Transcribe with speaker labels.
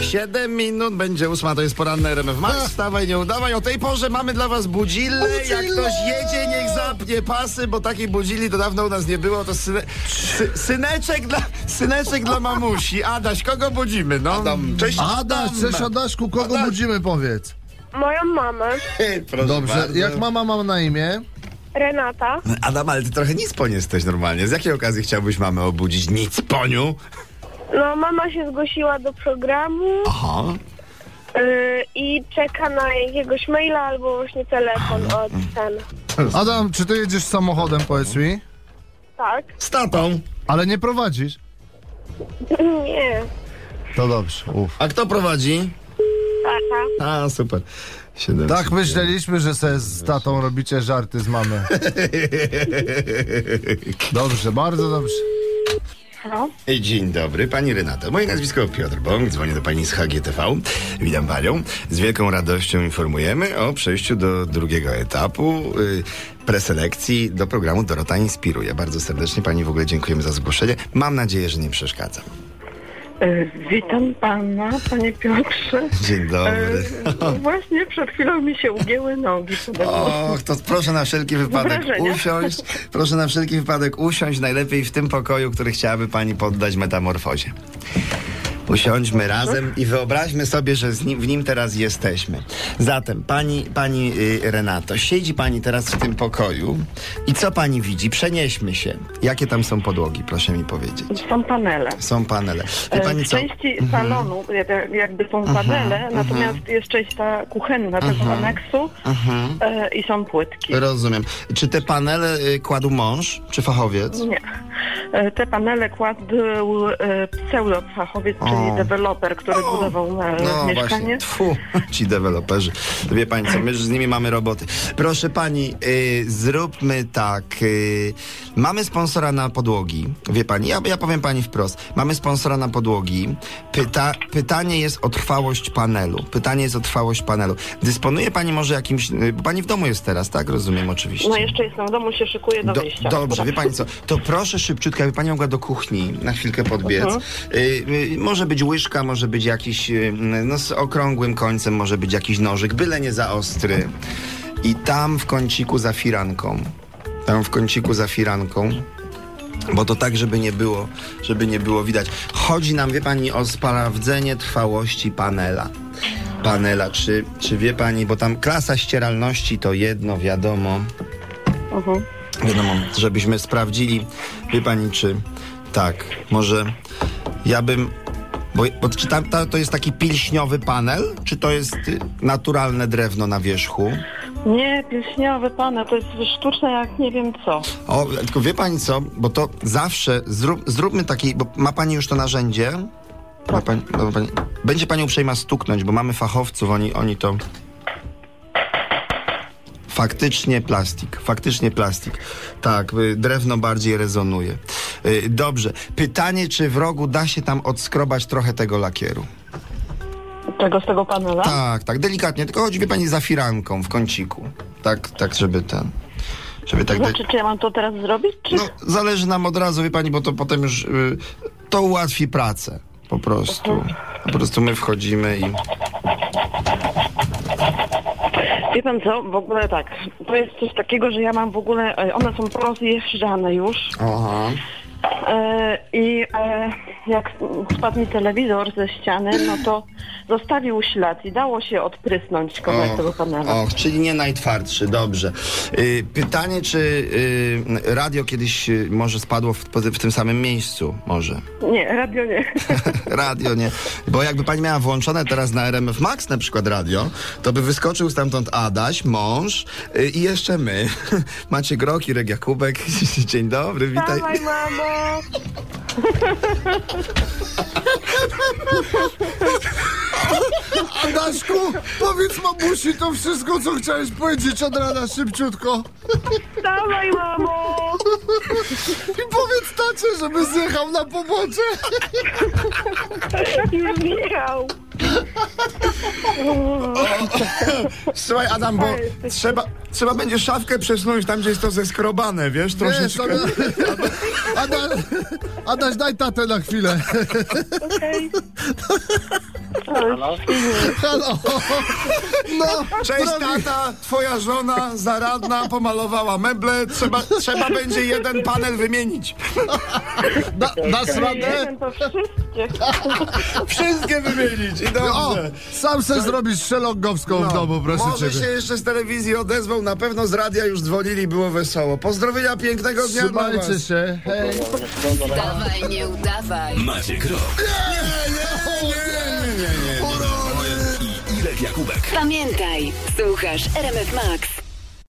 Speaker 1: Siedem minut, będzie ósma, to jest poranny RMF Max. Wstawaj, nie udawaj. O tej porze mamy dla was budzille. Jak ktoś jedzie, niech zapnie pasy, bo takiej budzili to dawno u nas nie było. To syne, sy, syneczek, dla, syneczek dla mamusi. Adaś, kogo budzimy? No.
Speaker 2: Adam, cześć.
Speaker 3: Adaś, cześć Adaszku, kogo budzimy powiedz?
Speaker 4: Moją mamę,
Speaker 2: Proszę
Speaker 3: Dobrze,
Speaker 2: bardzo.
Speaker 3: jak mama mam na imię?
Speaker 4: Renata.
Speaker 1: Adam, ale ty
Speaker 2: Trochę nic po nie jesteś normalnie. Z jakiej okazji chciałbyś mamę obudzić? Nic poniu.
Speaker 4: No, mama się zgłosiła do programu
Speaker 2: Aha.
Speaker 4: y, i czeka na jakiegoś maila albo właśnie telefon od ten.
Speaker 3: Adam, czy ty jedziesz samochodem, powiedz mi?
Speaker 4: Tak?
Speaker 1: Z tatą.
Speaker 3: Ale nie prowadzisz?
Speaker 4: Nie.
Speaker 3: To dobrze, uff.
Speaker 1: A kto prowadzi?
Speaker 4: Tata.
Speaker 1: A, super. Siedem.
Speaker 3: Tak myśleliśmy, że sobie z tatą robicie żarty z mamy. Dobrze, bardzo dobrze.
Speaker 2: Dzień dobry, pani Renata. Moje nazwisko Piotr Bąk, dzwonię do pani z HGTV. Witam panią. Z wielką radością informujemy o przejściu do drugiego etapu y, preselekcji do programu Dorota Inspiruje. Bardzo serdecznie pani w ogóle dziękujemy za zgłoszenie. Mam nadzieję, że nie przeszkadzam.
Speaker 5: E, Witam pana, panie Piotrze.
Speaker 2: Dzień dobry.
Speaker 5: E, Właśnie przed chwilą mi się ugięły nogi. tak przede mną.
Speaker 2: Och, to proszę na wszelki wypadek
Speaker 5: Wrażenia.
Speaker 2: usiąść. Proszę na wszelki wypadek usiąść, najlepiej w tym pokoju, który chciałaby pani poddać metamorfozie. Usiądźmy razem i wyobraźmy sobie, że z nim, w nim teraz jesteśmy. Zatem, pani, pani y, Renato, siedzi pani teraz w tym pokoju i co pani widzi? Przenieśmy się. Jakie tam są podłogi, proszę mi powiedzieć?
Speaker 5: Są panele.
Speaker 2: Są panele. Wie
Speaker 5: E,
Speaker 2: pani
Speaker 5: w
Speaker 2: co? Mhm.
Speaker 5: części salonu jak- jakby są panele, natomiast jest część ta kuchenna tego aneksu e, i są płytki.
Speaker 2: Rozumiem. Czy te panele y, kładł mąż, czy fachowiec?
Speaker 5: Nie. E, Te panele kładł e, pseudofachowiec,
Speaker 2: O.
Speaker 5: czyli deweloper, który budował e,
Speaker 2: No właśnie,
Speaker 5: mieszkanie.
Speaker 2: tfu, ci deweloperzy. Wie pani co, my już z nimi mamy roboty. Proszę pani, y, zróbmy tak. y, mamy sponsora na podłogi. Wie pani, ja, ja powiem pani wprost. Mamy sponsora na podłogi. Pyta, pytanie jest o trwałość panelu. Pytanie jest o trwałość panelu. Dysponuje pani może jakimś... y, Bo pani w domu jest teraz, tak? Rozumiem oczywiście.
Speaker 5: No jeszcze jestem w domu, się szykuję do,
Speaker 2: Do-
Speaker 5: wyjścia.
Speaker 2: dobrze, wie pani co, to proszę szybciutko, jakby pani mogła do kuchni na chwilkę podbiec. Y, y, może być łyżka, może być jakiś, y, no z okrągłym końcem może być jakiś nożyk, byle nie za ostry. I tam w kąciku za firanką, tam w kąciku za firanką, bo to tak, żeby nie było, żeby nie było widać. Chodzi nam, wie pani, o sprawdzenie trwałości panela. Panela, czy, czy wie pani, bo tam klasa ścieralności to jedno, wiadomo
Speaker 5: Mhm.
Speaker 2: wiadomo, żebyśmy sprawdzili, wie pani, czy tak, może ja bym, bo, bo czy tam, ta, to jest taki pilśniowy panel, czy to jest y, naturalne drewno na wierzchu?
Speaker 5: Nie, pilśniowy pana, to jest sztuczne jak nie wiem co.
Speaker 2: O, tylko wie pani co, bo to zawsze zrób, zróbmy taki, bo ma pani już to narzędzie. Ma pani, ma pani, będzie pani uprzejma stuknąć, bo mamy fachowców, oni, oni to. Faktycznie plastik, faktycznie plastik. Tak, y, drewno bardziej rezonuje. Y, Dobrze. Pytanie, czy w rogu da się tam odskrobać trochę tego lakieru?
Speaker 5: Czego z tego panela?
Speaker 2: Tak, tak, delikatnie. Tylko chodzi, wie pani, za firanką w kąciku. Tak, tak, żeby ten. Żeby tak. de-
Speaker 5: Znaczy, czy ja mam to teraz zrobić, czy...
Speaker 2: No, zależy nam od razu, wie pani, bo to potem już y, to ułatwi pracę. Po prostu. Po prostu my wchodzimy i.
Speaker 5: Wie pan co, w ogóle tak, to jest coś takiego, że ja mam w ogóle, e, one są porozjeżdżane już
Speaker 2: Aha.
Speaker 5: e, i e, jak spadł mi telewizor ze ściany, no to zostawił ślad i dało się odprysnąć kawałek tego panela.
Speaker 2: och, czyli nie najtwardszy, dobrze. Y, pytanie, czy y, radio kiedyś y, może spadło w, w tym samym miejscu? Może.
Speaker 5: Nie, radio nie.
Speaker 2: radio nie. Bo jakby pani miała włączone teraz na RMF Max na przykład radio, to by wyskoczył stamtąd Adaś, mąż y, i jeszcze my. Macie Groki, Regia Kubek. Dzień dobry, witaj.
Speaker 4: Dawaj, mamo!
Speaker 3: Adaszku, powiedz mamusi to wszystko, co chciałeś powiedzieć od rana szybciutko.
Speaker 4: Dawaj, mamo!
Speaker 3: I powiedz tacie, żeby zjechał na pobocze.
Speaker 4: Już zjechał!
Speaker 2: Słuchaj, Adam, bo trzeba, trzeba będzie szafkę przesunąć tam, gdzie jest to zeskrobane, wiesz,
Speaker 3: Wiesz,
Speaker 2: troszeczkę.
Speaker 3: Ada- Ada, Adaś, daj tatę na chwilę.
Speaker 4: Okej.
Speaker 3: Halo. No,
Speaker 2: Cześć tata, twoja żona zaradna pomalowała meble, trzeba, trzeba będzie jeden panel wymienić.
Speaker 3: da, dasz radę?
Speaker 5: Jeden to wszystkie.
Speaker 2: Wszystkie wymienić i
Speaker 3: O,
Speaker 2: dobrze.
Speaker 3: sam se zrobisz szelongowską w domu, proszę
Speaker 2: No. Może
Speaker 3: ciebie.
Speaker 2: się jeszcze z telewizji odezwał, na pewno z radia już dzwonili, było wesoło. Pozdrowienia, pięknego dnia dla was.
Speaker 3: Trzymajcie się, hej.
Speaker 6: Dawaj, nie udawaj.
Speaker 7: Maciek Rok
Speaker 6: Pamiętaj, słuchasz RMF Max.